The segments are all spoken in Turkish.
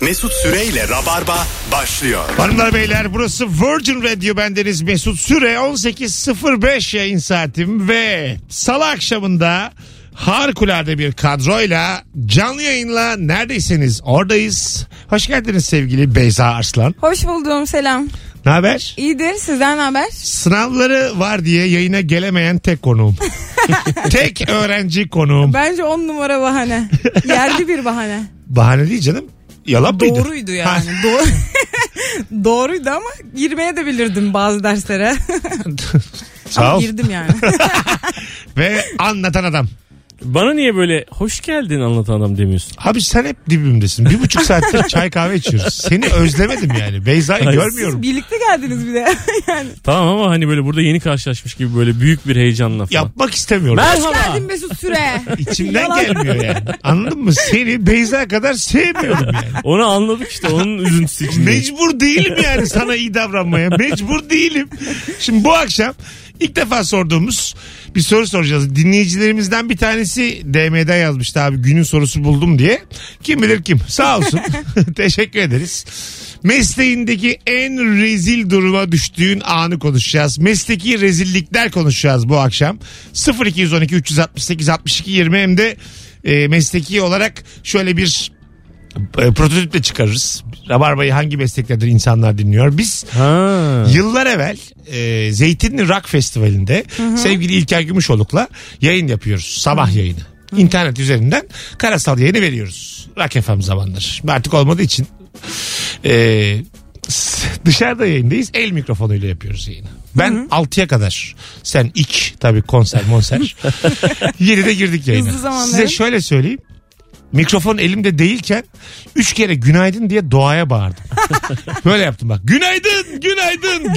Mesut Süreyle Rabarba başlıyor. Hanımlar beyler burası Virgin Radio bendeniz Mesut Süre 18.05 yayın saatim ve salı akşamında harikulade bir kadroyla canlı yayınla neredeyseniz oradayız. Hoş geldiniz sevgili Beyza Arslan. Hoş buldum selam. Ne haber? İyidir sizden ne haber? Sınavları var diye yayına gelemeyen tek konuğum. tek öğrenci konuğum. Bence on numara bahane. Yerli bir bahane. Bahane değil canım. Yalan mıydı? Doğruydu yani. Ha, Doğru. Doğruydu ama girmeye de bilirdim bazı derslere. Sağ ama ol. girdim yani. Ve anlatan adam. Bana niye böyle hoş geldin anlatan adam demiyorsun? Abi sen hep dibimdesin. Bir buçuk saattir çay kahve içiyoruz. Seni özlemedim yani. Beyza'yı Ay, görmüyorum. Birlikte geldiniz bir de. yani. Tamam ama hani böyle burada yeni karşılaşmış gibi böyle büyük bir heyecanla falan. Yapmak istemiyorum. Merhaba. Geldin Mesut Süre. İçimden Yalan. gelmiyor yani. Anladın mı? Seni Beyza kadar sevmiyorum yani. Onu anladık işte onun üzüntüsü içinde. Mecbur değilim yani sana iyi davranmaya. Mecbur değilim. Şimdi bu akşam ilk defa sorduğumuz bir soru soracağız. Dinleyicilerimizden bir tanesi DM'den yazmıştı abi günün sorusu buldum diye. Kim bilir kim. Sağ olsun. Teşekkür ederiz. Mesleğindeki en rezil duruma düştüğün anı konuşacağız. Mesleki rezillikler konuşacağız bu akşam. 0212 368 62 20 hem de e, mesleki olarak şöyle bir e, prototip de çıkarırız. Rabarbayı hangi mesleklerden insanlar dinliyor? Biz Ha. yıllar evvel e, Zeytinli Rock Festivali'nde sevgili İlker Gümüşoluk'la yayın yapıyoruz. Sabah yayını. İnternet üzerinden karasal yayını veriyoruz. Rock FM zamandır. Artık olmadığı için e, s- dışarıda yayındayız. El mikrofonuyla yapıyoruz yayını. Ben 6'ya kadar. Sen ilk tabii konser monser. 7'de girdik yayına. Hızlı zamanların. Size şöyle söyleyeyim. Mikrofon elimde değilken üç kere günaydın diye doğaya bağırdım. Böyle yaptım bak. Günaydın, günaydın,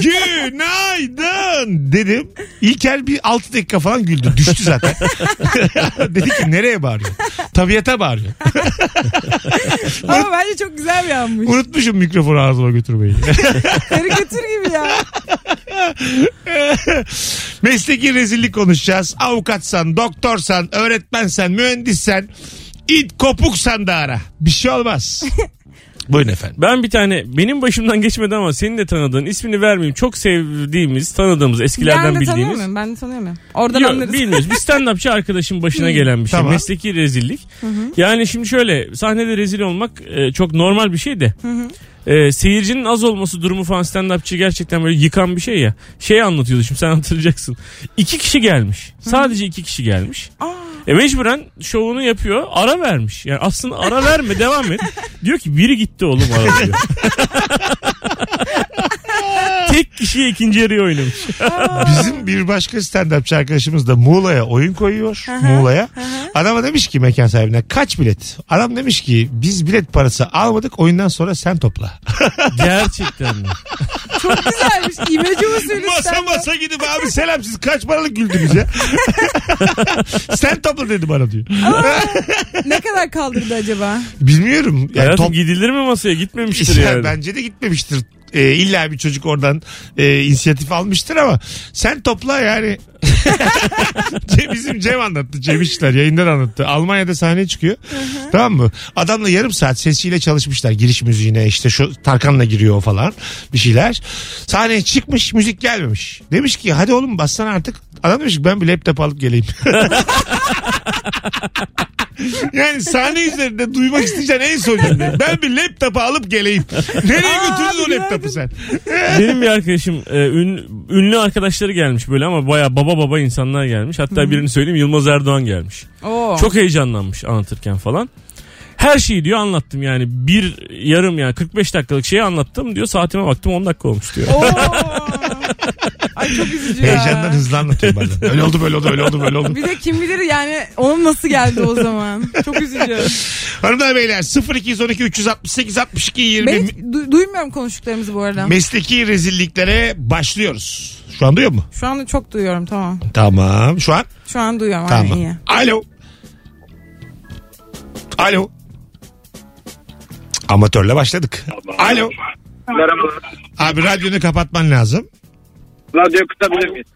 günaydın dedim. İlker bir 6 dakika falan güldü. Düştü zaten. Dedi ki nereye bağırıyor? Tabiata bağırıyor. ama bence çok güzel bir anmış. Unutmuşum mikrofonu ağzıma götürmeyi. Karikatür gibi ya. Mesleki rezillik konuşacağız. Avukatsan, doktorsan, öğretmensen, mühendissen, it kopuksan da ara. Bir şey olmaz. Buyurun efendim. Ben bir tane benim başımdan geçmedi ama senin de tanıdığın ismini vermeyeyim çok sevdiğimiz tanıdığımız ben eskilerden de tanıyor bildiğimiz. muyum? Ben de tanıyor muyum? Oradan Yok, anlarız. bilmiyoruz. Bir stand-upçı arkadaşın başına gelen bir şey. Tamam. Mesleki rezillik. Yani şimdi şöyle sahnede rezil olmak e, çok normal bir şey de. E, seyircinin az olması durumu falan stand-upçı gerçekten böyle yıkan bir şey ya. Şey anlatıyordu şimdi sen hatırlayacaksın. İki kişi gelmiş. Sadece iki kişi gelmiş. E mecburen şovunu yapıyor. Ara vermiş. Yani aslında ara verme devam et. Diyor ki biri gitti oğlum ara diyor. Tek kişiye ikinci yarıyı oynamış. Bizim bir başka stand-upçı arkadaşımız da Muğla'ya oyun koyuyor. Muğla'ya. Adama demiş ki mekan sahibine kaç bilet? Adam demiş ki biz bilet parası almadık oyundan sonra sen topla. Gerçekten mi? Çok güzelmiş. İmece usulü masa stand-up. masa gidip abi selam siz kaç paralık güldünüz ya. sen topla dedi bana diyor. Ne kadar kaldırdı acaba? Bilmiyorum. Yani Hayatım top- gidilir mi masaya? Gitmemiştir İşte yani. Bence de gitmemiştir. Ee, illa bir çocuk oradan e, inisiyatif almıştır ama sen topla yani. Cem- Bizim Cem anlattı. Cem İşler yayından anlattı. Almanya'da sahneye çıkıyor. tamam mı? Adamla yarım saat sesiyle çalışmışlar. Giriş müziğine işte şu Tarkan'la giriyor o falan bir şeyler. Sahneye çıkmış müzik gelmemiş. Demiş ki hadi oğlum bassana artık. Adam demiş ki ben bir laptop alıp geleyim. Yani sahne üzerinde duymak isteyeceğin en son cümle. Ben bir laptopu alıp geleyim. Nereye götürdün o laptopu sen? Benim bir arkadaşım e, ün- ünlü arkadaşları gelmiş böyle ama baya baba baba insanlar gelmiş. Hatta birini söyleyeyim Yılmaz Erdoğan gelmiş. Oo. Çok heyecanlanmış anlatırken falan. Her şeyi diyor anlattım yani bir yarım yani 45 dakikalık şeyi anlattım diyor saatime baktım 10 dakika olmuş diyor. Oo. Ay çok üzücü ya. Heyecandan hızlı anlatıyor bazen. Öyle oldu böyle oldu öyle oldu böyle oldu. Bir de kim bilir yani onun nasıl geldi o zaman. Çok üzücü. Hanımlar beyler 0212 368 62 20 Ben hiç du- duymuyorum konuştuklarımızı bu arada. mesleki rezilliklere başlıyoruz. Şu an duyuyor mu? Şu anda çok duyuyorum tamam. Tamam. Şu an? Şu an duyuyorum aynen Tamam. iyi. Alo. Alo. Amatörle başladık. Alo. Merhabalar. Abi radyonu kapatman lazım. Radyo kısabilir miyiz?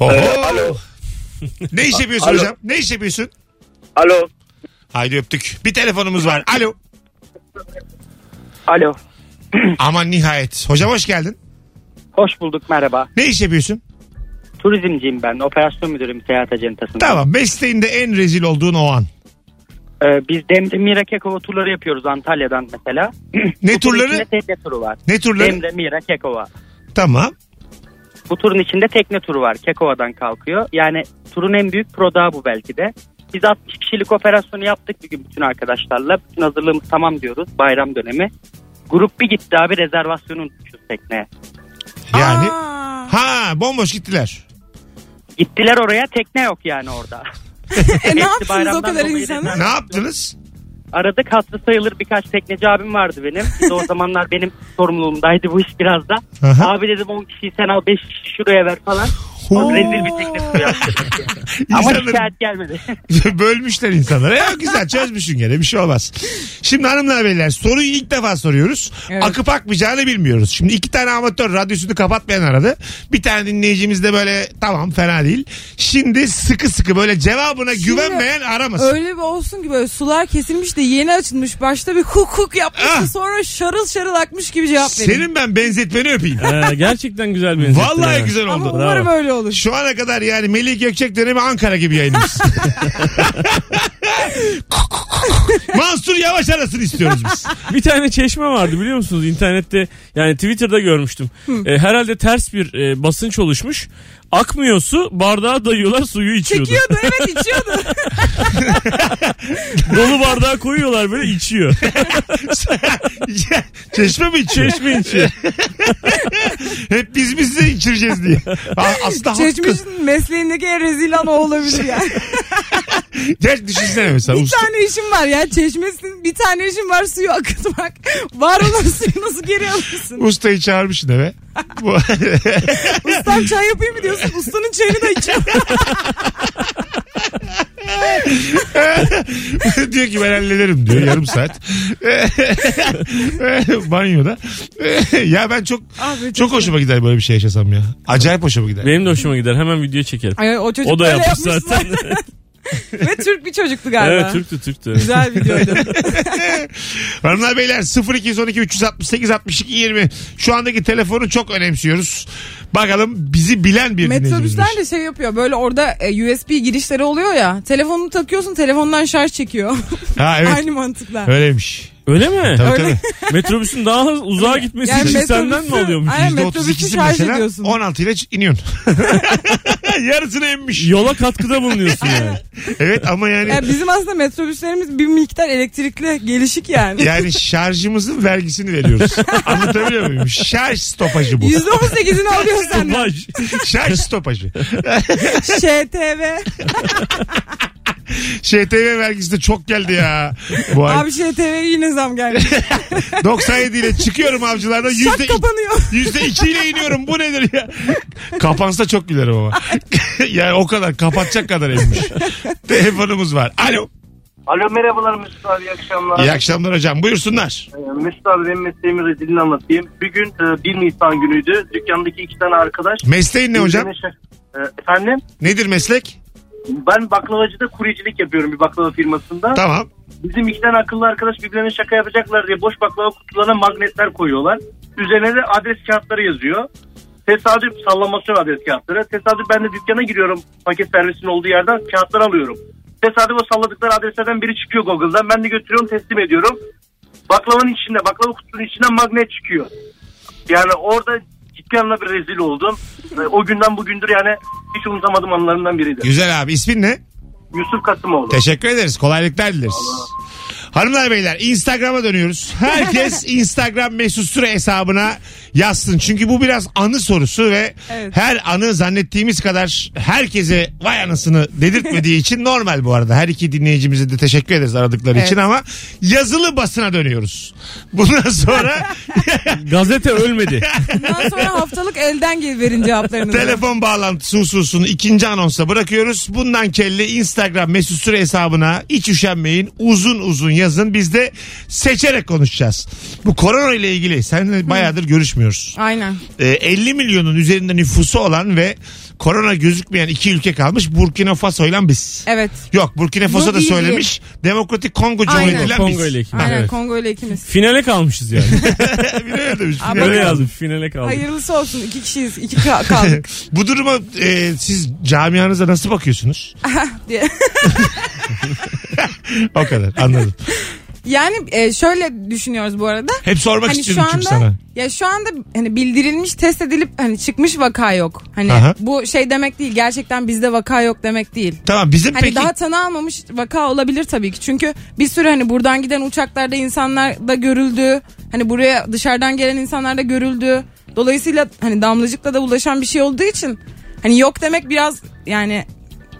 Oho. Ee, alo. Ne iş yapıyorsun Alo. hocam? Ne iş yapıyorsun? Alo. Haydi öptük. Bir telefonumuz var. Alo. Alo. Aman nihayet. Hocam hoş geldin. Hoş bulduk merhaba. Ne iş yapıyorsun? Turizmciyim ben. Operasyon müdürüyüm seyahat acentasında. Tamam mesleğinde en rezil olduğun o an. Ee, biz Demdemira Kekova turları yapıyoruz Antalya'dan mesela. Ne Bu turun turları? içinde tekne turu var. Ne turları? Demdemira Kekova. Tamam. Bu turun içinde tekne turu var. Kekova'dan kalkıyor. Yani turun en büyük prodağı bu belki de. Biz 60 kişilik operasyonu yaptık bir gün bütün arkadaşlarla. Bütün hazırlığımız tamam diyoruz bayram dönemi. Grup bir gitti abi rezervasyonu unutmuşuz tekneye. Yani. Aa, Ha bomboş gittiler. Gittiler oraya tekne yok yani orada. e ne yaptınız o bayramdan kadar dolayı insanı? dediler. Ne yaptınız? Aradık hatırı sayılır birkaç tekneci abim vardı benim. Bir de o zamanlar benim sorumluluğumdaydı bu iş biraz da. Aha. Abi dedim 10 kişiyi sen al 5 kişi şuraya ver falan. Oo. Rezil bir tekne turu yaptık. Ama İnsanları- şikayet gelmedi. Bölmüşler insanlara. Ya güzel çözmüşsün gene bir şey olmaz. Şimdi hanımlar beyler soruyu ilk defa soruyoruz. Evet. Akıp akmayacağını bilmiyoruz. Şimdi iki tane amatör radyosunu kapatmayan aradı. Bir tane dinleyicimiz de böyle tamam fena değil. Şimdi sıkı sıkı böyle cevabına güvenmeyen aramasın. Öyle bir olsun ki böyle sular kesilmiş de yeni açılmış. Başta bir hukuk yapmış Ah. da sonra şarıl şarıl akmış gibi cevap verin. Senin ben benzetmeni öpeyim. Ee, gerçekten güzel benzettin. Vallahi ha. güzel Ama oldu. umarım Bravo. öyle olur. Şu ana kadar yani Melih Gökçek dönemi Ankara gibi yayınımız. Mansur Yavaş arasın istiyoruz biz. Bir tane çeşme vardı biliyor musunuz internette yani Twitter'da görmüştüm. E, herhalde ters bir e, basınç oluşmuş. Akmıyor su bardağa dayıyorlar suyu içiyordu. İçiyordu evet içiyordu. Dolu bardağa koyuyorlar böyle içiyor. Çeşme mi içiyor? Çeşme içiyor. Hep biz biz de içireceğiz diye. A- Aslında haklı. Çeşmiş'in mesleğindeki en rezil an o olabilir yani. Gerçi düşünsene mesela. bir Şey, usta- tane işim var ya çeşmesinin bir tane işim var suyu akıtmak. Var olan suyu nasıl geri alırsın? Ustayı çağırmışsın eve. Bu- Ustam çay yapayım mı diyorsun? Ustanın çayını da içiyor. diyor ki ben hallederim diyor yarım saat. Banyoda. ya ben çok Abi, çok hoşuma gider böyle bir şey yaşasam ya. Acayip hoşuma gider. Benim de hoşuma gider hemen video çekerim. Ay, o çocuk O da öyle yapmış yapmış zaten. Ve Türk bir çocuktu galiba. evet Türktü Türktü. Güzel videoydu. Hanımlar beyler 0212 368 62 20 şu andaki telefonu çok önemsiyoruz. Bakalım bizi bilen bir dinleyicimiz. Metrobüsler de şey yapıyor. Böyle orada e, USB girişleri oluyor ya. Telefonunu takıyorsun telefondan şarj çekiyor. Ha evet Aynı mantıkla. öyleymiş. Öyle mi? Tabii Öyle. tabii. Metrobüsün daha uzağa gitmesi Yani için metrobüsü- senden mi oluyormuş? Aynen metrobüsü %32'si şarj mesela ediyorsun. 16 ile iniyorsun. Yarısını emmiş. Yola katkıda bulunuyorsun yani. Evet ama yani Yani bizim aslında metrobüslerimiz bir miktar elektrikli gelişik yani. yani şarjımızın vergisini veriyoruz. Anlatabiliyor muyum? Şarj stopajı bu. %18'ini alıyor senden. Baş. Şarj stopajı. ŞTV. ŞTV vergisi de çok geldi ya. Bu ay. Abi ŞTV yine zam geldi. 97 ile çıkıyorum avcılardan. Şak Yüzde kapanıyor. Yüzde ile iniyorum bu nedir ya? Kapansa çok gülerim ama. yani o kadar kapatacak kadar inmiş. Telefonumuz var. Alo. Alo merhabalar Mesut abi iyi akşamlar. İyi akşamlar hocam buyursunlar. Ee, Mesut abi benim mesleğimi rezilini anlatayım. Bir gün e, 1 Nisan günüydü. Dükkandaki iki tane arkadaş. Mesleğin ne hocam? Ee, Efendim Nedir meslek? ben baklavacıda kuryecilik yapıyorum bir baklava firmasında. Tamam. Bizim iki tane akıllı arkadaş birbirlerine şaka yapacaklar diye boş baklava kutularına magnetler koyuyorlar. Üzerine de adres kağıtları yazıyor. Tesadüf sallamasyon adres kağıtları. Tesadüf ben de dükkana giriyorum paket servisinin olduğu yerden kağıtları alıyorum. Tesadüf o salladıkları adreslerden biri çıkıyor Google'dan. Ben de götürüyorum teslim ediyorum. Baklavanın içinde baklava kutusunun içinden magnet çıkıyor. Yani orada ciddi anlamda bir rezil oldum. Ve O günden bugündür yani hiç unutamadığım anlarından biriydi. Güzel abi ismin ne? Yusuf Kasımoğlu. Teşekkür ederiz. Kolaylıklar dileriz. Hanımlar beyler Instagram'a dönüyoruz. Herkes Instagram mesut süre hesabına yazsın. Çünkü bu biraz anı sorusu ve Evet. her anı zannettiğimiz kadar herkese vay anasını dedirtmediği için normal bu arada. Her iki dinleyicimize de teşekkür ederiz aradıkları Evet. için ama yazılı basına dönüyoruz. Bundan sonra Gazete ölmedi. Bundan sonra haftalık elden gel verin cevaplarınızı. Telefon bağlantısı hususunu ikinci anonsa bırakıyoruz. Bundan kelli Instagram mesut süre hesabına hiç üşenmeyin uzun uzun yazın. Biz de seçerek konuşacağız. Bu korona ile ilgili seninle bayağıdır görüşmüyoruz. Aynen. Ee, 50 milyonun üzerinde nüfusu olan ve korona gözükmeyen iki ülke kalmış. Burkina Faso ile biz. Evet. Yok Burkina Faso Bu da iyi söylemiş. Demokratik Kongo Aynen. Cumhuriyeti ile biz. Kongo ile ikimiz. Aynen Evet. Kongo ile ikimiz. Finale kalmışız yani. Bir de öyle demiş. Abi- Öyle yazdım. Finale kaldık. Hayırlısı olsun. iki kişiyiz. iki ka- kaldık Bu duruma e, siz camianıza nasıl bakıyorsunuz? diye. O kadar anladım. Yani e, şöyle düşünüyoruz bu arada. Hep sormak hani şu istiyorum anda çünkü sana. ya şu anda hani bildirilmiş test edilip hani çıkmış vaka yok. Hani Aha. bu şey demek değil. Gerçekten bizde vaka yok demek değil. Tamam bizim Hani peki daha tanı almamış vaka olabilir tabii ki. Çünkü bir sürü hani buradan giden uçaklarda insanlar da görüldü. Hani buraya dışarıdan gelen insanlar da görüldü. Dolayısıyla hani damlacıkla da ulaşan bir şey olduğu için hani yok demek biraz yani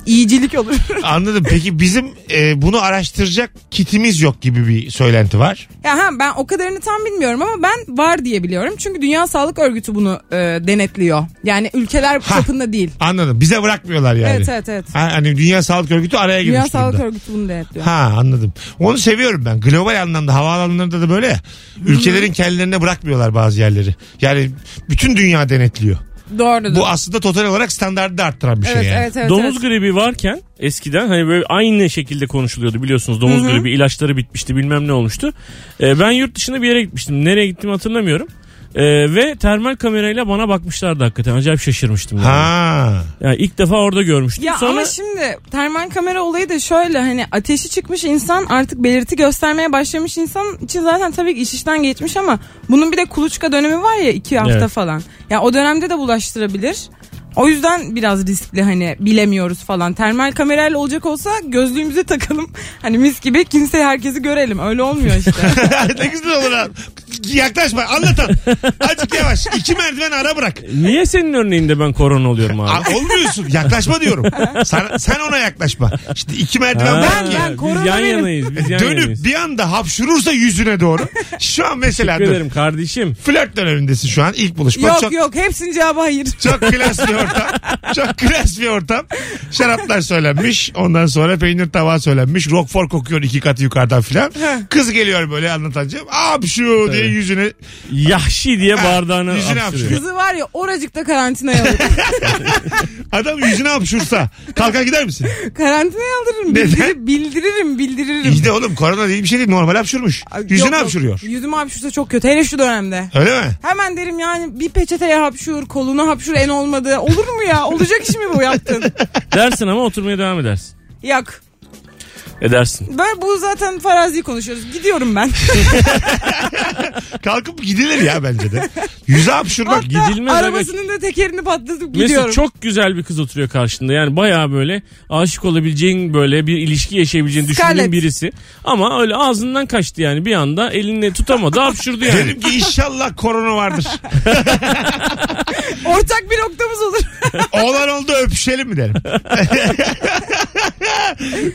iyicilik olur. anladım. Peki bizim e, bunu araştıracak kitimiz yok gibi bir söylenti var. ya ha, ben o kadarını tam bilmiyorum ama ben var diye biliyorum. Çünkü Dünya Sağlık Örgütü bunu e, denetliyor. Yani ülkeler Ha. çapında değil. Anladım. Bize bırakmıyorlar yani. şey Evet evet evet. Ha, hani Dünya Sağlık Örgütü araya girmiş Dünya Sağlık durumda. Örgütü bunu denetliyor. Ha anladım. Onu seviyorum ben. Global anlamda havaalanlarında da böyle. ya. Ülkelerin kendilerine bırakmıyorlar bazı yerleri. Yani bütün dünya denetliyor. Doğru. Bu aslında total olarak standartı da arttıran bir evet, şey yani. evet evet Domuz evet. gribi varken eskiden hani böyle aynı şekilde konuşuluyordu biliyorsunuz domuz gribi ilaçları bitmişti bilmem ne olmuştu. Ee, ben yurt dışında bir yere gitmiştim nereye gittiğimi hatırlamıyorum. Ee, ve termal kamerayla bana bakmışlardı hakikaten acayip şaşırmıştım. Yani. Ha. Yani ilk defa orada görmüştüm. Ya Sonra ama şimdi termal kamera olayı da şöyle hani ateşi çıkmış insan artık belirti göstermeye başlamış insan için zaten tabii ki iş işten geçmiş ama bunun bir de kuluçka dönemi var ya iki hafta Evet. falan. Ya o dönemde de bulaştırabilir. O yüzden biraz riskli hani bilemiyoruz falan. Termal kamerayla olacak olsa gözlüğümüze takalım. Hani mis gibi kimse herkesi görelim. Öyle olmuyor işte. ne güzel olur abi. Yaklaşma anlatan. Azıcık yavaş. İki merdiven ara bırak. niye senin örneğinde ben korona oluyorum abi? Abi olmuyorsun. Yaklaşma diyorum. Sana- sen ona yaklaşma. İşte iki merdiven Ha, bırak ki. ben korona biz yan benim. yanayız. Biz yan Dönüp yanayız. bir anda hapşurursa yüzüne doğru. Şu an mesela Teşekkür dur. ederim kardeşim. Flört dönemindesin şu an. ilk buluşma. yok çok, yok hepsinin cevabı hayır. çok klas bir ortam. Çok klas bir ortam. Şaraplar söylenmiş. Ondan sonra peynir tava söylenmiş. Roquefort kokuyor iki katı yukarıdan filan. Kız geliyor böyle anlatacağım. Hapşu diye Tabii. yüzüne Yahşi diye bardağına yüzüne hapşırıyor. Kızı var ya oracıkta karantinaya alırım. Adam yüzüne hapşursa kalkar gider misin? karantinaya alırım. Neden? Bildiririm bildiririm. bildiririm. İyi de oğlum korona değil bir şey değil normal hapşurmuş. Ay, Yüzüne yok, yok. hapşuruyor. Yüzüme hapşursa çok kötü. Hele şu dönemde. Öyle mi? Hemen derim yani bir peçeteye hapşur, koluna hapşur en olmadı. Olur mu ya? Olacak iş mi bu yaptın? Dersin ama oturmaya devam edersin. Yak. Edersin. Böyle bu zaten farazi konuşuyoruz. Gidiyorum ben. Kalkıp gidilir ya bence de. Yüze hapşurmak Hatta gidilmez arabasının da tekerini patlatıp gidiyorum. Mesut çok güzel bir kız oturuyor karşında. Yani bayağı böyle aşık olabileceğin böyle bir ilişki yaşayabileceğini Scarlett. düşündüğün birisi. Ama öyle ağzından kaçtı yani bir anda elini tutamadı hapşırdı yani. Dedim ki inşallah korona vardır. Ortak bir noktamız olur. Olan oldu öpüşelim mi derim.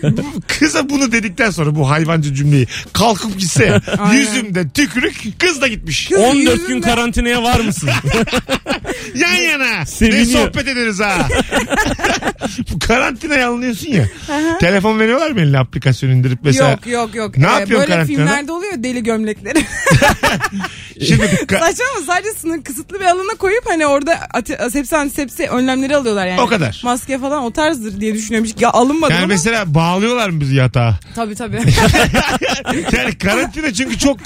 Bu- Kıza bunu dedikten sonra bu hayvancı cümleyi kalkıp gitse ya, Aynen. yüzümde tükürük kız da gitmiş. Kız 14 yüzünden- gün karantinaya var mısın? Yan yana. Ne Seviniyor. sohbet ederiz ha. bu karantinaya alınıyorsun ya. Telefon veriyorlar mı eline aplikasyon indirip mesela. Yok yok yok. Ee, Ne yapıyorsun Böyle karantinada? filmlerde oluyor deli gömlekleri. Şimdi ka- Saçma mı? Sadece sınır kısıtlı bir alana koyup hani orada ate- asepsi antisepsi önlemleri alıyorlar yani. O kadar. Maske falan o tarzdır diye düşünüyormuş. Ya alınmadı yani ama. mesela bağlıyorlar mı bizi yatağa? Tabii tabii. Yani karantina çünkü çok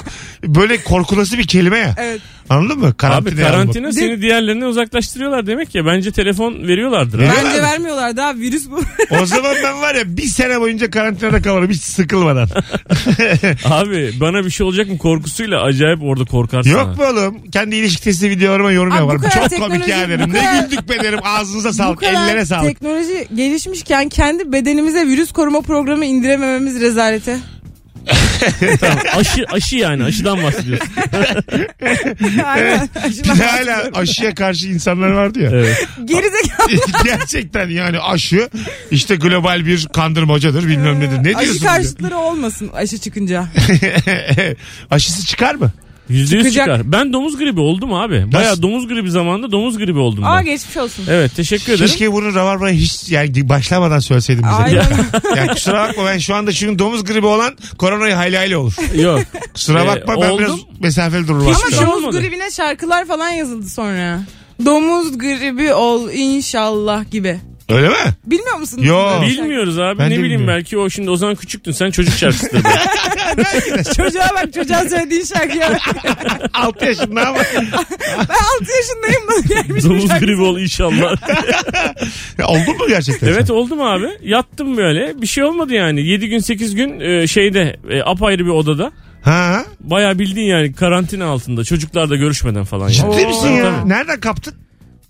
böyle korkulası bir kelime ya. evet. Anladın mı? Abi Karantina. karantina De- seni diğerlerine uzaklaştırıyorlar demek ya. Bence telefon veriyorlardır. ha. Ver- Veriyorlar Bence mı? vermiyorlar daha virüs bu. O zaman ben var ya bir sene boyunca karantinada kalırım hiç sıkılmadan. Abi bana bir şey olacak mı korkusuyla acayip orada korkarsın. ha. Yok mu oğlum? Kendi ilişki testi videolarıma yorum Abi bu yaparım. kadar Çok komik teknoloji- ya derim. bu Ne kadar- güldük be derim. Ağzınıza bu sağlık. Ellere kadar sağlık. teknoloji gelişmişken kendi bedenimize virüs koruma programı indiremememiz rezalete. Tamam, aşı, aşı yani aşıdan bahsediyorsun. Aynen. Bir de hala aşıya karşı insanlar vardı ya. Evet. Gerizekalı. Gerçekten yani aşı işte global bir kandırmacadır bilmem nedir. Ne Aşı diyorsun? karşıtları olmasın aşı çıkınca. Aşısı çıkar mı? Yüzde yüz Çıkacak. çıkar. Ben domuz gribi oldum abi. Baya domuz gribi zamanında domuz gribi oldum Aa ben. geçmiş olsun. Evet teşekkür ederim. Keşke bunu Rabarba'ya hiç yani başlamadan söyleseydin bize. Aynen. Ya kusura bakma ben şu anda çünkü domuz gribi olan koronayı hayli hayli olur. Yok. Kusura Ee, bakma ben oldum. biraz mesafeli dururum Hiç- aslında. şey Ama domuz olmadı. gribine şarkılar falan yazıldı sonra. Domuz gribi ol inşallah gibi. Öyle mi? Bilmiyor musunuz? Yo. bunları? Bilmiyoruz Ben abi de ne bileyim bilmiyorum. belki o şimdi o zaman küçüktün sen çocuk şarkısıdır. Çocuğa bak çocuğa söylediğin şarkıya bak. 6 yaşında ama. Ben 6 yaşındayım bana gelmiş bu domuz şarkı. gribi ol inşallah. Ya Oldu mu gerçekten? evet oldum abi yattım böyle bir şey olmadı yani 7 gün 8 gün e, şeyde e, apayrı bir odada. Ha? Baya bildiğin yani karantina altında çocuklarla görüşmeden falan. Yani. Ciddi misin Tabii, ya? tabii. Nereden kaptın?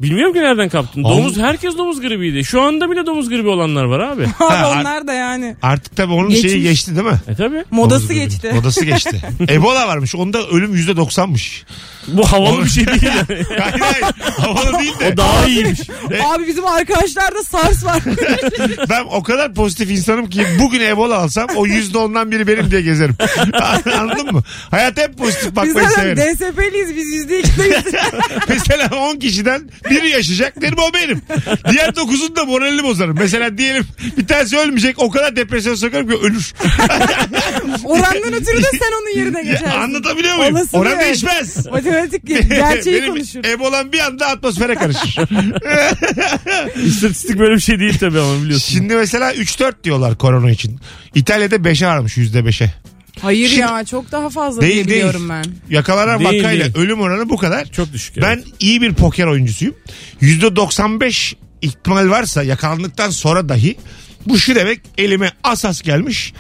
Bilmiyorum ki nereden kaptın. Oğlum- Domuz herkes domuz gribiydi. Şu anda bile domuz gribi olanlar var abi. Ha, Abi onlar da yani. Artık tabii onun Geçmiş. şeyi geçti değil mi? E tabi. Modası Domuz gribi. geçti. Modası geçti. Ebola varmış. Onda ölüm %90'mış. Bu havalı bir şey değil. yani. hayır hayır. Havalı değil de. O daha iyiymiş. Abi bizim arkadaşlarda SARS var. Ben o kadar pozitif insanım ki bugün Ebola alsam o %10'dan biri benim diye gezerim. Anladın mı? Hayata hep pozitif biz bakmayı zaten severim. DSP'liyiz biz yüzde ikideyiz. Mesela 10 kişiden biri yaşayacak derim o benim. Diğer 9'un da moralini bozarım. Mesela diyelim bir tanesi ölmeyecek o kadar depresyona sokarım ki ölür. Orandan ötürü de sen onun yerine geçersin. Ya, anlatabiliyor muyum? Olasılığı Oran evet. değişmez. Matematik gerçeği Benim konuşur. Ebolam bir anda atmosfere karışır. İstatistik böyle bir şey değil tabi ama biliyorsun. Şimdi mesela 3-4 diyorlar korona için. İtalya'da 5'e varmış %5'e. Hayır Şimdi- ya çok daha fazla Değil, diye değil. biliyorum ben. Yakalanan Değil, vakayla değil. ölüm oranı bu kadar. Çok düşük. evet. Ben iyi bir poker oyuncusuyum. %95 ihtimal varsa yakalandıktan sonra dahi bu şu demek elime asas gelmiş.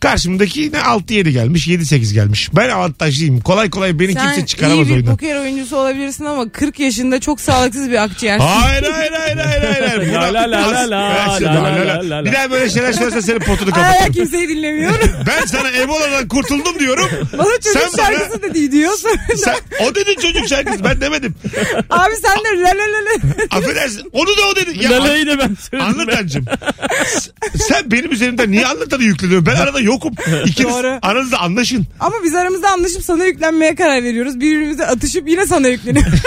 Karşımdaki ne 6-7 gelmiş 7-8 gelmiş. Ben avantajlıyım. Kolay kolay beni Sen kimse çıkaramaz iyi bir oyundan. poker oyuncusu olabilirsin ama 40 yaşında çok sağlıksız bir akciğer. Hayır hayır hayır hayır hayır. hayır. La, la, la, la, la, Ben seni- la, la, la, la. Bir daha böyle şeyler söylersen senin potunu Hala kapatırım. kimseyi dinlemiyor. Ben sana Ebola'dan kurtuldum diyorum. Bana çocuk Sen bana- şarkısı dedi diyor. Sen, o dedi çocuk şarkısı ben demedim. Abi sen de la la la la. Affedersin onu da o dedi. Ya, Lalayı da ben söyledim. Anlatancım. Sen benim üzerimden niye anlatana yükleniyorsun? Ben arada yokum. İkiniz Doğru. aranızda anlaşın. Ama biz aramızda anlaşıp sana yüklenmeye karar veriyoruz. Birbirimize atışıp yine sana yükleniyoruz.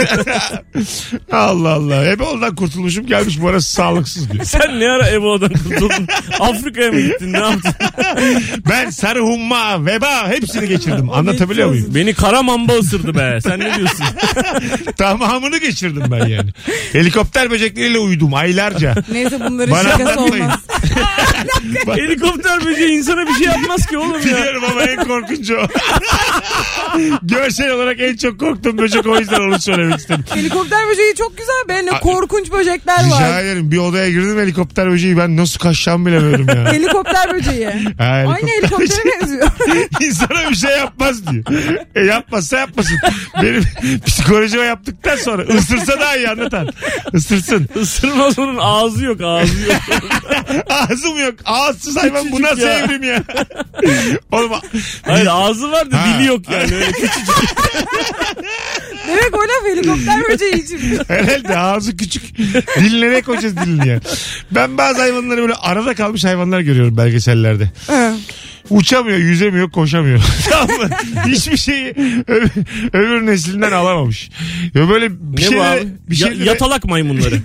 Allah Allah. Hep ondan kurtulmuşum gelmiş bu ara sağlıksız diyor. Sen ne ara Ebola'dan kurtuldun? Afrika'ya mı gittin? Ne yaptın? Ben sarı humma, veba hepsini geçirdim. Anlatabiliyor muyum? Beni kara mamba ısırdı be. Sen ne diyorsun? Tamamını geçirdim ben yani. Helikopter böcekleriyle uyudum aylarca. Neyse bunların Bana şakası anlatmayın. olmaz. Helikopter böceği insana bir şey yapmaz ki oğlum ya. Biliyorum ama en korkuncu o. Görsel olarak en çok korktuğum böcek o yüzden onu söylemek istedim. Helikopter böceği çok güzel be. Ne korkunç böcekler Rica var. ederim bir odaya girdim helikopter böceği ben nasıl kaçacağımı bilemiyorum ya. Helikopter böceği. Ha, Aynı helikoptere benziyor. İnsana bir şey yapmaz diyor. E yapmazsa yapmasın. Benim psikolojime yaptıktan sonra ısırsa daha iyi anlatan. Isırsın. Isırmaz onun ağzı yok ağzı yok. Ağzım yok. Ağızsız hayvan bu Küçücük nasıl ya. evrim ya? Oğlum Hayır ağzı var da Ha. dili yok yani. Öyle küçük. Demek o laf helikopter böceği için. herhalde ağzı küçük. Diline ne koyacağız dilini ya? Ben bazı hayvanları böyle arada kalmış hayvanlar görüyorum belgesellerde. Uçamıyor, yüzemiyor, koşamıyor. tamam mı? Hiçbir şeyi öbür, öbür neslinden alamamış. Ya böyle bir Ne bu şeylere- abi? bir Ya- şeylere- yatalak maymunları.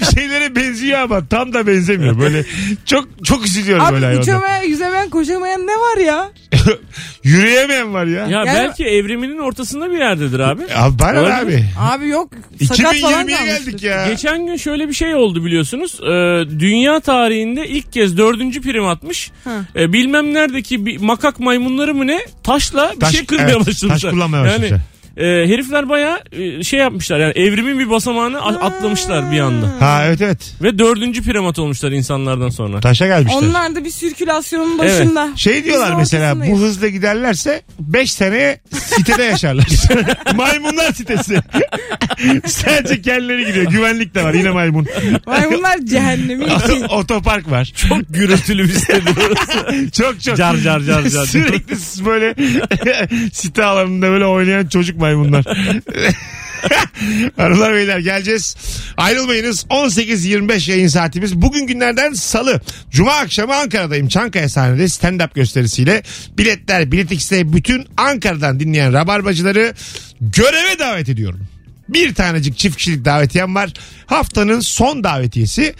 bir şeylere benziyor ama tam da benzemiyor. Böyle çok çok üzülüyorum böyle Abi hayvanlara. uçamayan, yüzemeyen, koşamayan ne var ya? Yürüyemeyen var ya. Ya Yani- belki evriminin ortasında bir yerdedir abi. Ya bana ne Olabilir. abi. Abi yok. Sakat falan 2020'ye kalmıştır. geldik ya. Geçen gün şöyle bir şey oldu biliyorsunuz. Ee, dünya tarihinde ilk kez dördüncü prim atmış. Hı. Ee, bilmem neredeki bir makak maymunları mı ne taşla bir Taş- şey kırmaya evet, başlamışlar. taş kullanmaya şey. başlamışlar. e, herifler bayağı e, şey yapmışlar yani evrimin bir basamağını a- atlamışlar bir anda. Ha evet evet. Ve dördüncü primat olmuşlar insanlardan sonra. Taşa gelmişler. Onlar da bir sirkülasyonun başında. Şey diyorlar Biz de mesela bu ortasındayız. hızla giderlerse 5 seneye sitede yaşarlar. Maymunlar sitesi. Sadece kendileri gidiyor. Güvenlik de var yine maymun. Maymunlar cehennemi için. Otopark var. Çok gürültülü bir sitedi orası. Çok çok. Car car car car. Sürekli böyle site alanında böyle oynayan çocuk maymunlar. Hanımlar beyler geleceğiz. Ayrılmayınız. 18.25 yayın saatimiz. Bugün günlerden salı. Cuma akşamı Ankara'dayım. Çankaya sahnede stand-up gösterisiyle. Biletler, Bilet X'te bütün Ankara'dan dinleyen rabarbacıları göreve davet ediyorum. Bir tanecik çift kişilik davetiyem var. Haftanın son davetiyesi.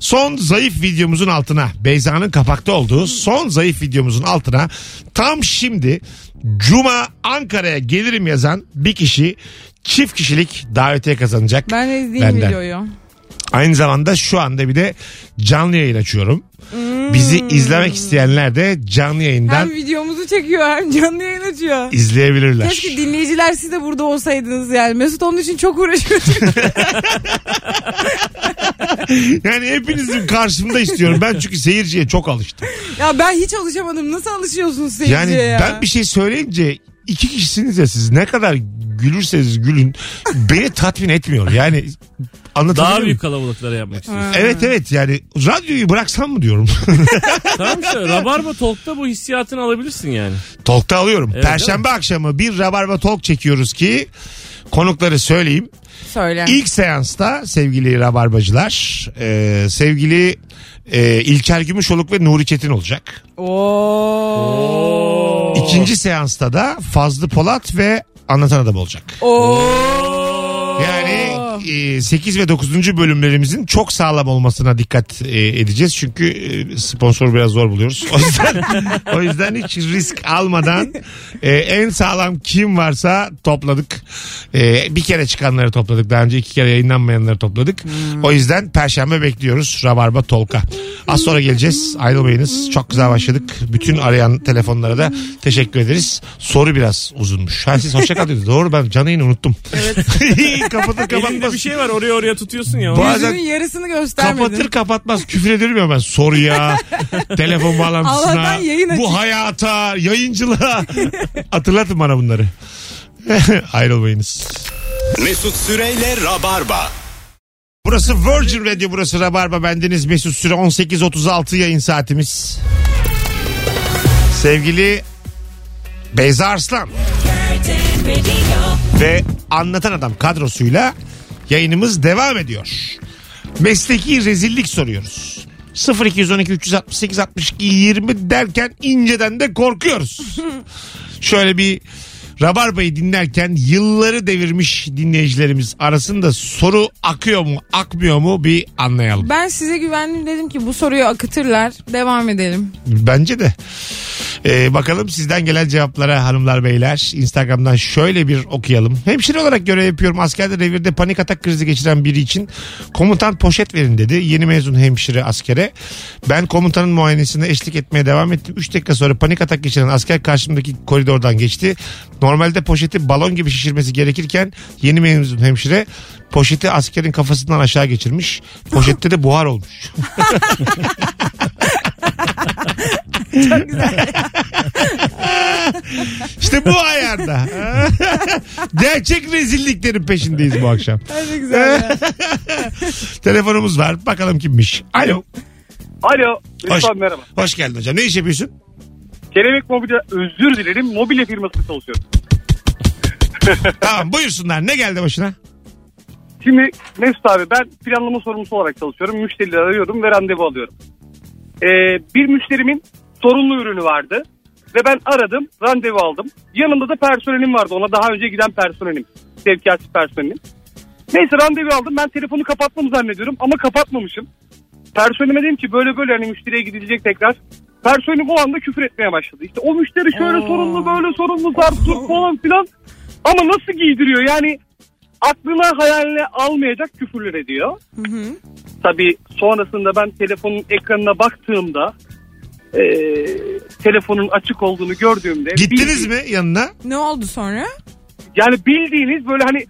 Son zayıf videomuzun altına Beyza'nın kapakta olduğu son zayıf videomuzun altına tam şimdi Cuma Ankara'ya gelirim yazan bir kişi çift kişilik davetiye kazanacak. Ben de izleyeyim Benden. videoyu. Aynı zamanda şu anda bir de canlı yayın açıyorum. Bizi izlemek isteyenler de canlı yayından Hmm. Hem videomuzu çekiyor hem canlı yayın açıyor. izleyebilirler. Keşke dinleyiciler siz de burada olsaydınız yani. Mesut onun için çok uğraşıyor. Yani hepinizin karşımda istiyorum. Ben çünkü seyirciye çok alıştım. ya ben hiç alışamadım. Nasıl alışıyorsun seyirciye Yani ya? ben bir şey söyleyince iki kişisiniz ya siz ne kadar gülürseniz gülün beni tatmin etmiyor. Yani anlatabiliyor Daha muyum? büyük kalabalıklara yapmak istiyorsun. Evet evet yani radyoyu bıraksam mı diyorum. tamam işte Rabarba Talk'ta bu hissiyatını alabilirsin yani. Talk'ta alıyorum. Evet, Perşembe akşamı bir Rabarba Talk çekiyoruz ki konukları söyleyeyim. Söyle. İlk seansta sevgili Rabarbacılar e, sevgili e, İlker Gümüşoluk ve Nuri Çetin olacak. Oo. Oh. İkinci seansta da Fazlı Polat ve Anlatan Adam olacak. Oo. Yani 8 ve 9. bölümlerimizin çok sağlam olmasına dikkat e, edeceğiz. Çünkü e, sponsor biraz zor buluyoruz. O yüzden, o yüzden hiç risk almadan e, en sağlam kim varsa topladık. E, bir kere çıkanları topladık. Daha önce iki kere yayınlanmayanları topladık. Hmm. O yüzden perşembe bekliyoruz Rabarba Tolka. Az sonra geleceğiz. Ayrılmayınız. Çok güzel başladık. Bütün arayan telefonlara da teşekkür ederiz. Soru biraz uzunmuş. Ha, siz hoşça kal dediniz. Doğru ben canı yayını unuttum. Evet. kapatır Elinde kapatmaz. bir şey var oraya oraya tutuyorsun ya. Ba- Yüzünün Bazen- yarısını göstermedin. Kapatır kapatmaz küfür ediyorum ya ben soruya, telefon bağlantısına, Allah'tan yayın açık. bu hayata, yayıncılığa. Hatırlatın bana bunları. Ayrılmayınız. Mesut Süreyle Rabarba. Burası Virgin Radio, burası Rabarba. Bendeniz Mesut Süre 18.36 yayın saatimiz. Sevgili Beyza Arslan ve Anlatan Adam kadrosuyla yayınımız devam ediyor. Mesleki rezillik soruyoruz. 0212 368 62 20 derken inceden de korkuyoruz. Şöyle bir Rabarba'yı dinlerken yılları devirmiş dinleyicilerimiz arasında soru akıyor mu akmıyor mu bir anlayalım. Ben size güvendim dedim ki bu soruyu akıtırlar. Devam edelim. Bence de. Ee, bakalım sizden gelen cevaplara hanımlar beyler. Instagram'dan şöyle bir okuyalım. Hemşire olarak görev yapıyorum. Askerde revirde panik atak krizi geçiren biri için komutan poşet verin dedi. Yeni mezun hemşire askere. Ben komutanın muayenesine eşlik etmeye devam ettim. 3 dakika sonra panik atak geçiren asker karşımdaki koridordan geçti. Normalde poşeti balon gibi şişirmesi gerekirken yeni mezun hemşire poşeti askerin kafasından aşağı geçirmiş. Poşette de buhar olmuş. İşte bu ayarda. Gerçek rezilliklerin peşindeyiz bu akşam. Hadi güzel. ya. Telefonumuz var. Bakalım kimmiş. Alo. Alo. Hoş, Lütfen merhaba. hoş geldin hocam. Ne iş yapıyorsun? Kelebek Mobilya özür dilerim. Mobilya firmasında çalışıyorum. tamam buyursunlar. Ne geldi başına? Şimdi Mesut abi ben planlama sorumlusu olarak çalışıyorum. Müşterileri arıyorum ve randevu alıyorum. Ee, bir müşterimin sorunlu ürünü vardı. Ve ben aradım, randevu aldım. Yanımda da personelim vardı. Ona daha önce giden personelim. Sevkiyatçı personelim. Neyse randevu aldım. Ben telefonu kapatmam zannediyorum ama kapatmamışım. Personelime dedim ki böyle böyle hani müşteriye gidilecek tekrar. Personelim o anda küfür etmeye başladı. İşte o müşteri şöyle Oo. sorunlu böyle sorunlu zarf tut falan filan. Ama nasıl giydiriyor yani aklına hayaline almayacak küfürler ediyor. Hı hı. Tabii sonrasında ben telefonun ekranına baktığımda e, telefonun açık olduğunu gördüğümde Gittiniz bildi- mi yanına? ne oldu sonra? Yani bildiğiniz böyle hani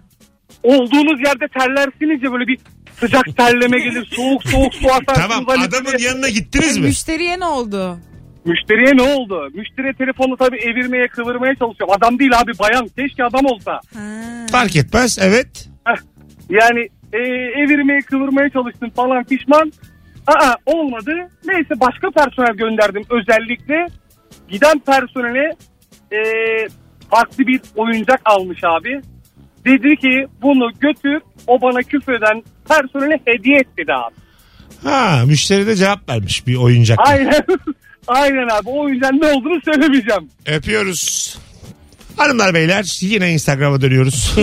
olduğunuz yerde terlersiniz ya böyle bir sıcak terleme gelir soğuk soğuk su atarsınız. Tamam Hani adamın böyle- yanına gittiniz mi? Müşteriye ne oldu? Müşteriye ne oldu? Müşteriye telefonu tabii evirmeye kıvırmaya çalışıyorum. Adam değil abi bayan keşke adam olsa. Ha. Fark etmez evet. Ah, Yani e, evirmeye kıvırmaya çalıştım falan pişman. Aa olmadı. Neyse başka personel gönderdim. Özellikle giden personele e, farklı bir oyuncak almış abi. Dedi ki bunu götür o bana küfreden personele hediye et dedi abi. Ha müşteri de cevap vermiş bir oyuncak. Aynen. Aynen abi. O yüzden ne olduğunu söylemeyeceğim. Öpüyoruz. Hanımlar beyler yine Instagram'a dönüyoruz.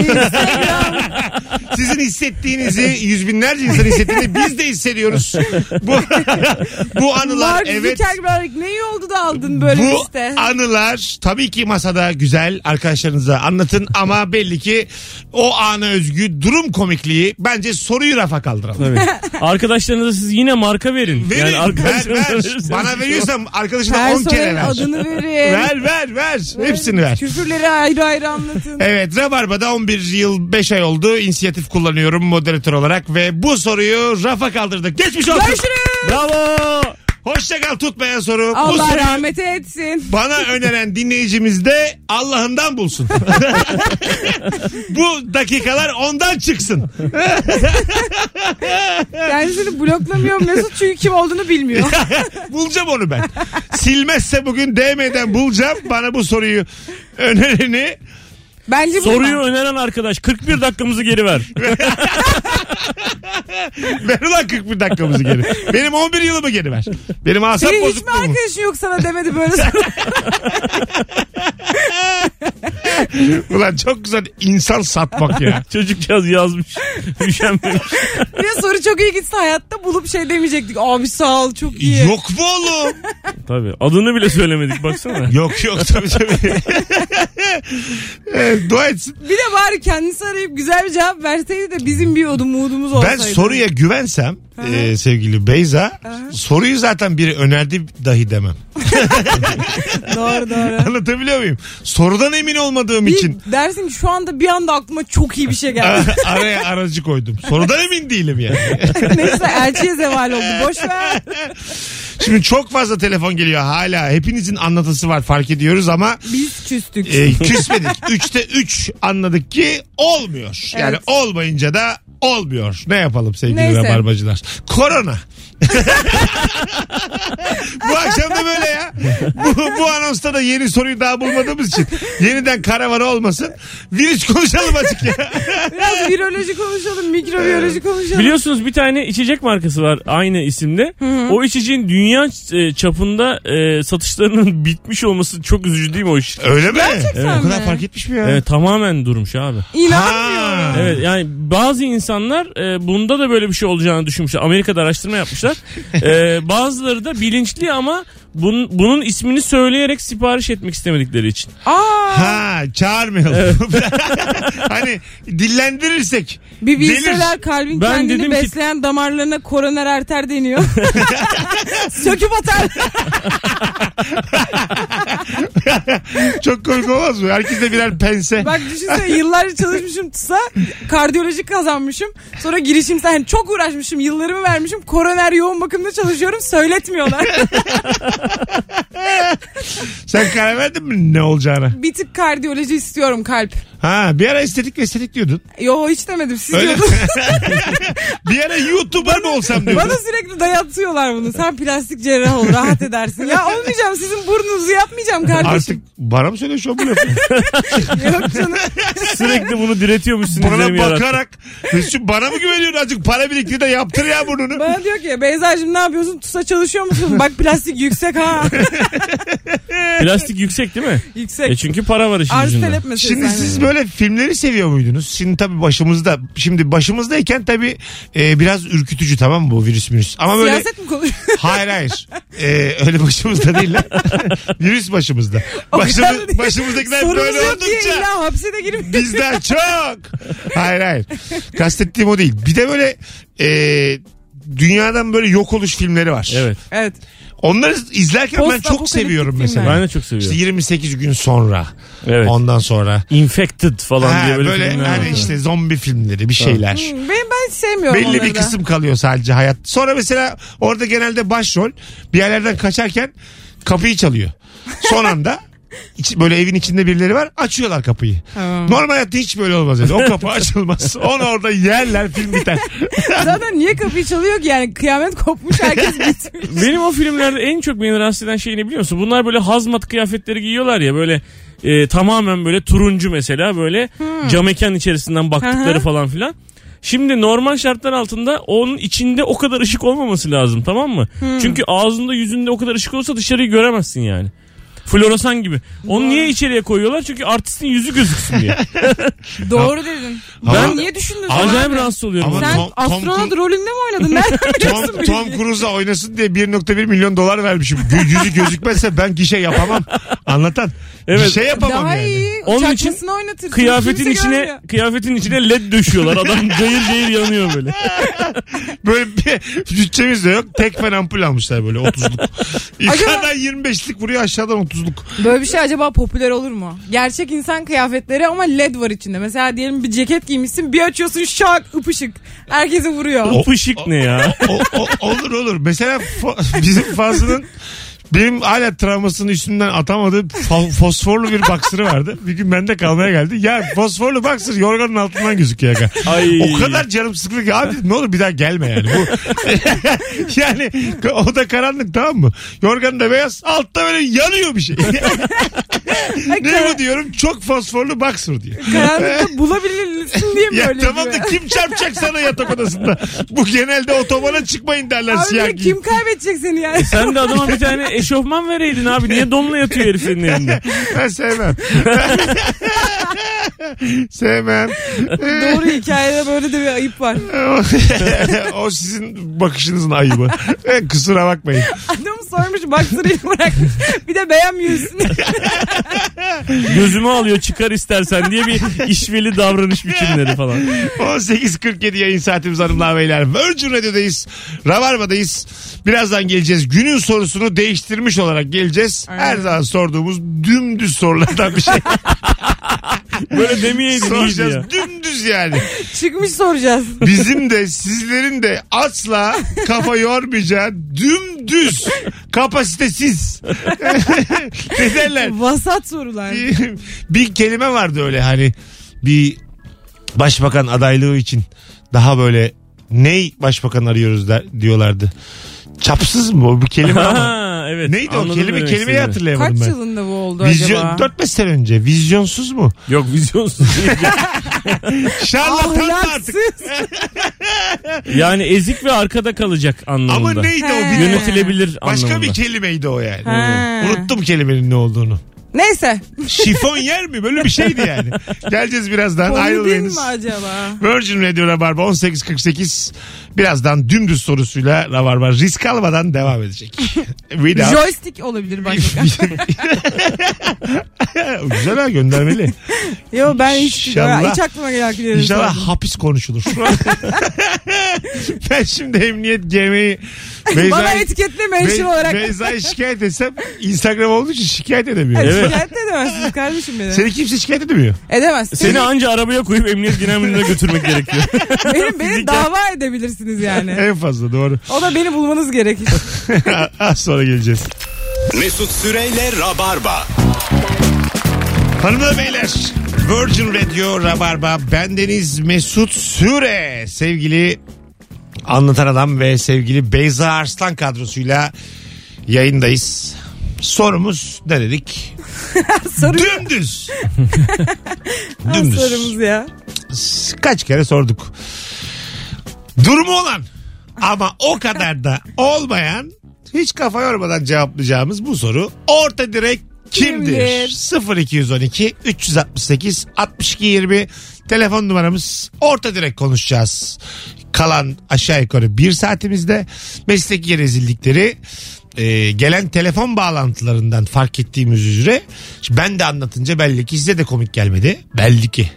Sizin hissettiğinizi yüz binlerce insan hissettiğini biz de hissediyoruz. Bu, bu anılar Mark evet. Zuckerberg ne iyi oldu da aldın böyle Bu işte. anılar tabii ki masada güzel arkadaşlarınıza anlatın ama belli ki o ana özgü durum komikliği bence soruyu rafa kaldıralım. Tabii. Arkadaşlarınıza siz yine marka verin. Verin, ver, arkadaşlarınıza şey ver. verirseniz- Bana veriyorsam arkadaşına Her 10 kere sorunun ver. adını verin. Ver ver ver. Hepsini ver. Küfürleri ayrı ayrı anlatın. Evet Rabarba'da 11 yıl 5 ay oldu. İnisiyatif kullanıyorum moderatör olarak ve bu soruyu rafa kaldırdık. Geçmiş olsun. Görüşürüz. Bravo. Hoşça kal tutmayan soru. bu Allah soru rahmet etsin. bana öneren dinleyicimiz de Allah'ından bulsun. bu dakikalar ondan çıksın. Kendisini bloklamıyorum Mesut çünkü kim olduğunu bilmiyor. bulacağım onu ben. Silmezse bugün DM'den bulacağım. Bana bu soruyu önereni Bence bu Soruyu öneren arkadaş 41 dakikamızı geri ver. ver ulan 41 dakikamızı geri. Benim 11 yılımı geri ver. Benim asap Senin hiç mi bozukluğumu. arkadaşın yok sana demedi böyle Ulan çok güzel insan satmak ya. Çocukcağız yazmış. Üşenmemiş. Bir soru çok iyi gitse hayatta bulup şey demeyecektik. Abi sağ ol çok iyi. Yok mu oğlum? Tabii. Adını bile söylemedik baksana. yok yok tabii tabii. Evet, dua etsin. Bir de bari kendisi arayıp güzel bir cevap verseydi de bizim bir odum umudumuz Ben olsaydı. soruya güvensem e, sevgili Beyza soruyu zaten biri önerdi dahi demem. Doğru doğru. Anlatabiliyor muyum? Sorudan emin olmadığım için Bir dersin ki şu anda bir anda aklıma çok iyi bir şey geldi. araya aracı koydum. Sorudan emin değilim yani. Neyse elçiye zeval oldu. Boş ver. Şimdi çok fazla telefon geliyor hala. Hepinizin anlatısı var fark ediyoruz ama Biz küstük. e, küsmedik. Üçte üç anladık ki olmuyor. Yani Evet. olmayınca da olmuyor. Ne yapalım sevgili Neyse. rabarbacılar? Korona. bu akşam da böyle ya. Bu, bu anonsta da yeni soruyu daha bulmadığımız için yeniden karavana olmasın. Virüs konuşalım açık ya. Biraz viroloji konuşalım, E- mikrobiyoloji konuşalım. Biliyorsunuz bir tane içecek markası var aynı isimde. O içeceğin dünya e, çapında e, satışlarının bitmiş olması çok üzücü değil mi o iş? Öyle mi? Gerçekten o kadar mi? fark etmiş mi ya? Evet, tamamen durmuş abi. İnanmıyorum. Ha. Evet yani bazı insanlar e, bunda da böyle bir şey olacağını düşünmüşler. Amerika'da araştırma yapmışlar. E, bazıları da bilinçli ama bun- bunun ismini söyleyerek sipariş etmek istemedikleri için. Aa, Ha çağırmayalım. hani dillendirirsek. bir Delir. bilseler kalbin Ben dedim kendini ki- besleyen damarlarına koroner arter deniyor. Söküp atar. Çok komik olmaz mı? Herkeste birer pense. Bak düşünsene yıllarca çalışmışım TUS'a kardiyolojik kazanmışım. Sonra girişimsel hani çok uğraşmışım yıllarımı vermişim. Koroner yoğun bakımda çalışıyorum söyletmiyorlar. Sen karar verdin mi ne olacağına? bir tık kardiyoloji istiyorum kalp. Ha bir ara estetik ve estetik diyordun. Yo hiç demedim siz Öyle diyordunuz. Bir ara YouTuber mı olsam diyordun. Bana sürekli dayatıyorlar bunu. Sen plastik cerrah ol rahat edersin. Ya olmayacağım sizin burnunuzu yapmayacağım Artık kardeşim. bana mı söylüyor şu an bu lafı? Yok canım. Sürekli bunu diretiyormuşsunuz. Bana Cem Yarat. bakarak. Mesut bana mı güveniyorsun azıcık para biriktir de yaptır ya burnunu. Bana diyor ki Beyza'cığım ne yapıyorsun? TUS'a çalışıyor musun? Bak plastik yüksek ha. Plastik yüksek değil mi? E yüksek. çünkü para var işin Arz ucunda. talep meselesi. Şimdi aynen. siz böyle filmleri seviyor muydunuz? Şimdi tabii başımızda. Şimdi başımızdayken tabii e, biraz ürkütücü tamam mı bu virüs virüs. Ama böyle Siyaset mi konuşuyorsun? Hayır hayır. Ee, öyle başımızda değil lan. Virüs başımızda. O Başımız, kadar da değil. başımızdakiler Sorumuz böyle yok diye oldukça illa hapse de girmiyor. bizden çok. Hayır hayır. Kastettiğim o değil. Bir de böyle e, dünyadan böyle yok oluş filmleri var. Evet. Evet. Onları izlerken ben çok Postapokaliptik seviyorum filmler. mesela. Ben de çok İşte seviyorum. 28 gün sonra. Evet. Ondan sonra. Infected falan Ha, diye böyle, böyle filmler hani var. işte zombi filmleri bir şeyler. Hmm, Ben, ben sevmiyorum Belli onları bir da. kısım kalıyor sadece hayat. Sonra mesela orada genelde başrol bir yerlerden kaçarken kapıyı çalıyor. Son anda iç- böyle evin içinde birileri var açıyorlar kapıyı. Normal hayatta hiç böyle olmaz. Yani. O kapı açılmaz. Onu orada yerler film biter. Zaten niye kapıyı çalıyor ki yani kıyamet kopmuş herkes gitmiş. Benim o filmlerde en çok beni rahatsız eden şey ne biliyor musun? Bunlar böyle hazmat kıyafetleri giyiyorlar ya böyle e, tamamen böyle turuncu mesela böyle cam mekan içerisinden baktıkları falan filan. Şimdi normal şartlar altında onun içinde o kadar ışık olmaması lazım tamam mı? Çünkü ağzında yüzünde o kadar ışık olsa dışarıyı göremezsin yani. Floresan gibi. Onu niye içeriye koyuyorlar? Çünkü artistin yüzü gözüksün diye. Doğru dedin. Ama- ben niye düşündün? sen Acayip abi? rahatsız oluyorum. Ama- ben. Sen Tom- Tom astronot Cru- rolünde mi oynadın? Nereden biliyorsun Tom, bu Tom bilgiyi? Cruise'a oynasın diye 1.1 milyon dolar vermişim. Gö- Yüzü gözükmezse ben gişe yapamam. Anlatan. Evet. Gişe yapamam Daha yani. iyi. Onun için Çakmasını oynatırsın. Kıyafetin Kimse içine görmüyor. kıyafetin içine led döşüyorlar. Adam cayır cayır yanıyor böyle. Böyle bir bütçemiz de yok. Tek fen ampul almışlar böyle 30'luk. Yukarıdan 25'lik vuruyor aşağıdan 30'luk. Böyle bir şey acaba popüler olur mu? Gerçek insan kıyafetleri ama led var içinde. Mesela diyelim bir ceket giymişsin bir açıyorsun şak ıpışık. Herkesi vuruyor. O ışık ne ya? O, o- olur olur. Mesela fa- bizim Fazlı'nın benim hala travmasını üstümden atamadığı fa- fosforlu bir baksırı vardı. Bir gün bende kalmaya geldi. Ya fosforlu baksır yorganın altından gözüküyor. ya. Ay. O kadar canım sıkıldı ki abi ne olur bir daha gelme yani. Bu, yani o da karanlık tamam mı? Yorgan da beyaz altta böyle yanıyor bir şey. ne bu diyorum çok fosforlu baksır diyor. Karanlıkta bulabilirsin diye mi Ya böyle tamam da diyor? kim çarpacak sana yatak odasında? Bu genelde otobana çıkmayın derler Abi siyah de giyip. kim kaybedecek seni yani? Sen de adama bir tane eşofman vereydin abi. Niye donla yatıyor herif senin elinde? Ben sevmem. sevmem. Doğru hikayede böyle de bir ayıp var. o sizin bakışınızın ayıbı. Kusura bakmayın. Adam sormuş baksırıyı bırakmış. Bir de beğenmiyorsun. Gözümü alıyor çıkar istersen diye bir işveli davranış biçimleri falan. 18.47 yayın saatimiz hanımlar beyler. Virgin Radio'dayız. Rabarba'dayız. Birazdan geleceğiz. Günün sorusunu değiştirmiş olarak geleceğiz. Her zaman sorduğumuz dümdüz sorulardan bir şey Böyle demeyeydin iyiydi soracağız. ya. Dümdüz yani. Çıkmış soracağız. Bizim de sizlerin de asla kafa yormayacağı dümdüz kapasitesiz. ne derler? Vasat sorular. Bir- bir kelime vardı öyle hani bir başbakan adaylığı için daha böyle ney başbakan arıyoruz der, diyorlardı. Çapsız mı o bir kelime ama. Ha, evet. Neydi o Anladım kelime demek kelimeyi istediğini. hatırlayamadım Kaç ben. yılında bu oldu Vizyon, acaba? 4-5 sene önce vizyonsuz mu? Yok vizyonsuz. değil. Şarlatan mı artık? Ahlaksız. yani ezik ve arkada kalacak anlamında. Ama neydi o He. bir Yönetilebilir Başka anlamında. bir kelimeydi o yani. Ha. Unuttum kelimenin ne olduğunu. Neyse. Şifon yer mi? Böyle bir şeydi yani. Geleceğiz birazdan. Konu değil Ayrılmayınız. mi acaba? Virgin Radio Rabarba 18.48 birazdan dümdüz sorusuyla Rabarba risk almadan devam edecek. Without... Joystick olabilir başka. Güzel ha göndermeli. Yo ben hiç, İnşallah. hiç aklıma gelen şey kelimeleri İnşallah sordum. hapis konuşulur. ben şimdi emniyet gemiyi Bana Beyza'yı etiketle menşur Bey- olarak. Beyza'yı şikayet etsem Instagram olduğu için şikayet edemiyorum. Evet. Şikayet de edemezsiniz kardeşim beni. Seni kimse şikayet edemiyor. Edemezsiniz. Seni anca arabaya koyup emniyet genel müdürüne götürmek gerekiyor. benim, beni dava edebilirsiniz yani. En fazla doğru. O da beni bulmanız gerekir. Az sonra geleceğiz. Mesut Süreyle Rabarba. Hanımlar beyler Virgin Radio Rabarba bendeniz Mesut Süre sevgili anlatan adam ve sevgili Beyza Arslan kadrosuyla yayındayız. Sorumuz ne dedik? Soru Dümdüz. Dümdüz. sorumuz ya. Kaç kere sorduk. Durumu olan ama o kadar da olmayan hiç kafa yormadan cevaplayacağımız bu soru orta direk kimdir? Kimdir? 0212 368 62 20 telefon numaramız orta direk konuşacağız. Kalan aşağı yukarı bir saatimizde mesleki rezillikleri e, gelen telefon bağlantılarından fark ettiğimiz üzere Şimdi ben de anlatınca belli ki size de komik gelmedi. Belli ki.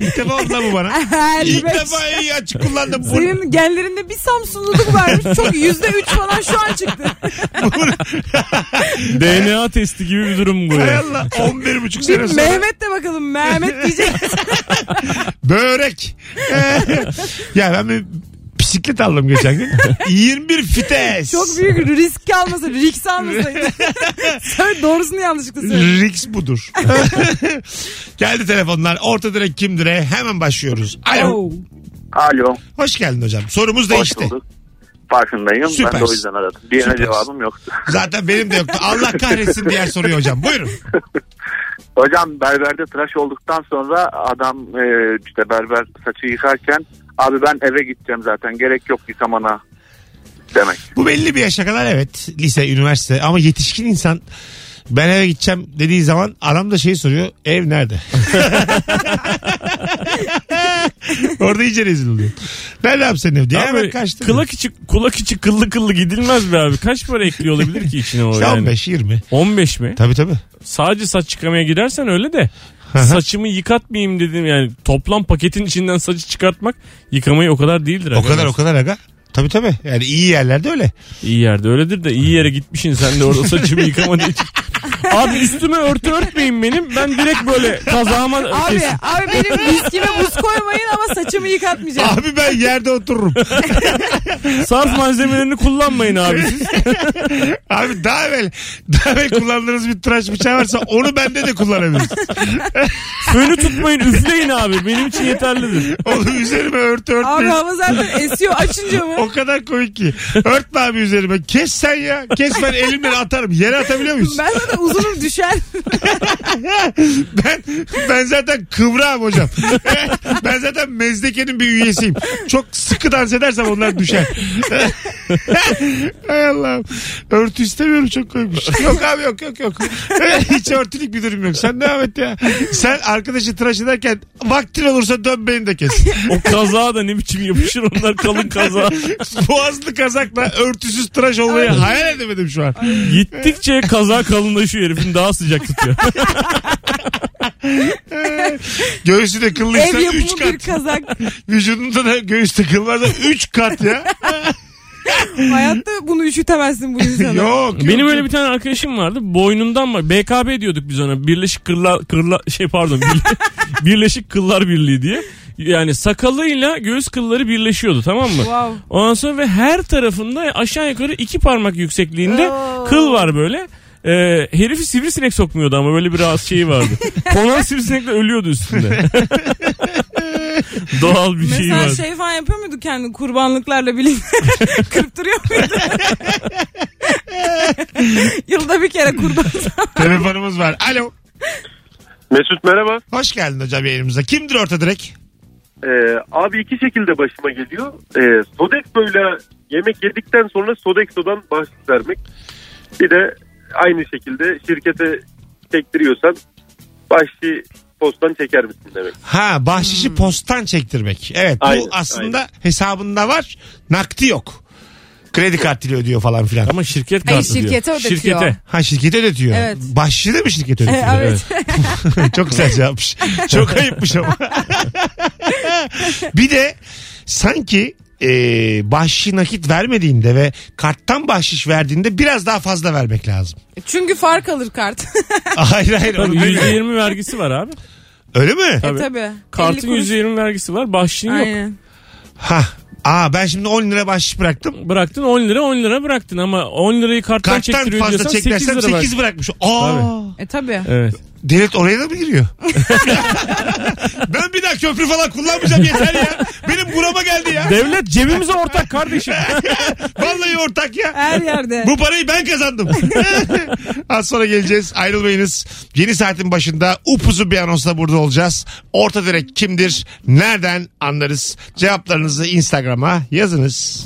İlk defa oldu lan bu bana. Her İlk beş- defa iyi açık kullandım. Bu- Senin genlerinde bir Samsunluluk varmış. Çok yüzde üç falan şu an çıktı. DNA testi gibi bir durum bu Hay ya. Allah 11 buçuk Bir sene sonra. Mehmet de bakalım. Mehmet diyecek. Börek. ya ben bir bisiklet aldım geçen gün. 21 fites. Çok büyük risk almasın. Risk almasaydı. Söyle doğrusunu yanlışlıkla söyle. Riks budur. Geldi telefonlar. Orta direk kimdire hemen başlıyoruz. Alo. Oh. Alo. Hoş geldin hocam. Sorumuz Hoş değişti. bulduk. Farkındayım. Süpersin. Ben de o yüzden aradım. Diğerine Süpersin. cevabım yoktu. Zaten benim de yoktu. Allah kahretsin diğer soruyu hocam. Buyurun. Hocam berberde tıraş olduktan sonra adam e, işte berber saçı yıkarken abi ben eve gideceğim zaten gerek yok yıkamana demek. Bu belli bir yaşa kadar evet. Lise, üniversite ama yetişkin insan ben eve gideceğim dediği zaman adam da şey soruyor. Ev nerede? Orada iyice rezil oluyor. Nerede abi senin ev diye Ama hemen kaçtı. Kılak içi, kulak içi kıllı kıllı gidilmez be abi. Kaç para ekliyor olabilir ki içine o İşte yani? 15-20. 15 mi? Tabii tabii. Sadece saç çıkamaya gidersen öyle de. Saçımı yıkatmayayım dedim yani toplam paketin içinden saçı çıkartmak yıkamayı o kadar değildir. O kadar o kadar aga. Tabii tabii. Yani iyi yerlerde öyle. İyi yerde öyledir de iyi yere gitmişsin sen de orada saçımı yıkama diye. Abi üstüme örtü örtmeyin benim. Ben direkt böyle kazağıma Abi, kesin. abi benim viskime buz koymayın ama saçımı yıkatmayacağım. Abi ben yerde otururum. Sarf malzemelerini kullanmayın abi siz. Abi daha evvel, daha evvel kullandığınız bir tıraş bıçağı varsa onu bende de kullanabilirsin. Fönü tutmayın üfleyin abi. Benim için yeterlidir. Onu üzerime örtü Abi örtmeyin. hava zaten esiyor açınca mı? O kadar komik ki. Örtme abi üzerime. Kes sen ya. Kes ben elimden atarım. Yere atabiliyor muyuz? Ben zaten uzunum düşer. Ben ben zaten kıvrağım hocam. ben zaten mezdekenin bir üyesiyim. Çok sıkı dans edersem onlar düşer. Hay Allah'ım. Örtü istemiyorum çok koymuş. Yok abi yok yok yok. Hiç örtülük bir durum yok. Sen devam et ya. Sen arkadaşı tıraş ederken vaktin olursa dön beni de kes. O kazağa da ne biçim yapışır onlar kalın kazağa. Boğazlı kazakla örtüsüz tıraş olmayı hayal edemedim şu an. Gittikçe kaza kalınlaşıyor herifin daha sıcak tutuyor. Göğsü de kıllıysa 3 Ev yapımı kat. bir kazak. Vücudunda da göğüste kıl varsa 3 kat ya. Hayatta bunu üşütemezsin bu insana. yok. Benim yok. öyle bir tane arkadaşım vardı. Boynundan mı? BKB diyorduk biz ona. Birleşik Kırlar Kırla şey pardon. Birle- Birleşik Kıllar Birliği diye. Yani sakalıyla göğüs kılları birleşiyordu tamam mı? Wow. Ondan sonra ve her tarafında aşağı yukarı iki parmak yüksekliğinde Oo. kıl var böyle. Ee, herifi sivrisinek sokmuyordu ama böyle bir rahatsız şeyi vardı. Konan sivrisinekle ölüyordu üstünde. Doğal bir şey Mesela vardı. şey falan yapıyor muydu kendini kurbanlıklarla birlikte? Kırptırıyor muydu? Yılda bir kere kurban. Telefonumuz var. Alo. Mesut merhaba. Hoş geldin hocam yayınımıza. Kimdir orta direk? Ee, abi iki şekilde başıma geliyor. Ee, Sodexo'yla yemek yedikten sonra Sodexo'dan bahşiş vermek. Bir de aynı şekilde şirkete çektiriyorsan bahşişi postan çeker misin demek. Ha bahşişi Hmm. postan çektirmek. Evet Aynen, bu aslında hesabında var. Nakdi yok. Kredi kartıyla ödüyor falan filan. Ama şirket kartı Hayır, diyor. şirkete ödetiyor. Şirkete. Ha şirkete ödetiyor. Evet. Bahşişi de mi şirkete ödetiyor? evet. Çok güzel cevapmış. Çok ayıpmış ama. bir de sanki e, bahşişi nakit vermediğinde ve karttan bahşiş verdiğinde biraz daha fazla vermek lazım. Çünkü fark alır kart. hayır hayır. onu Tabii demiyorum. %20 vergisi var abi. Öyle mi? E Tabii. tabii. Kartın 50 kuruş. %20 vergisi var. Bahşişin yok. Aynen. Ha. Aa ben şimdi 10 lira bahşiş bıraktım. Bıraktın 10 lira 10 lira bıraktın ama 10 lirayı karttan, Karttan çektiriyor fazla diyorsan 8 çeklersem lira 8, var. bırakmış. Aa. Tabii. E tabii. Evet. Devlet oraya da mı giriyor? ben bir daha köprü falan kullanmayacağım yeter ya. Benim burama geldi ya. Devlet cebimize ortak kardeşim. Vallahi ortak ya. Her yerde. Bu parayı ben kazandım. Az sonra geleceğiz. Ayrılmayınız. Yeni saatin başında upuzu bir anonsla burada olacağız. Orta direk kimdir? Nereden anlarız? Cevaplarınızı Instagram'a yazınız.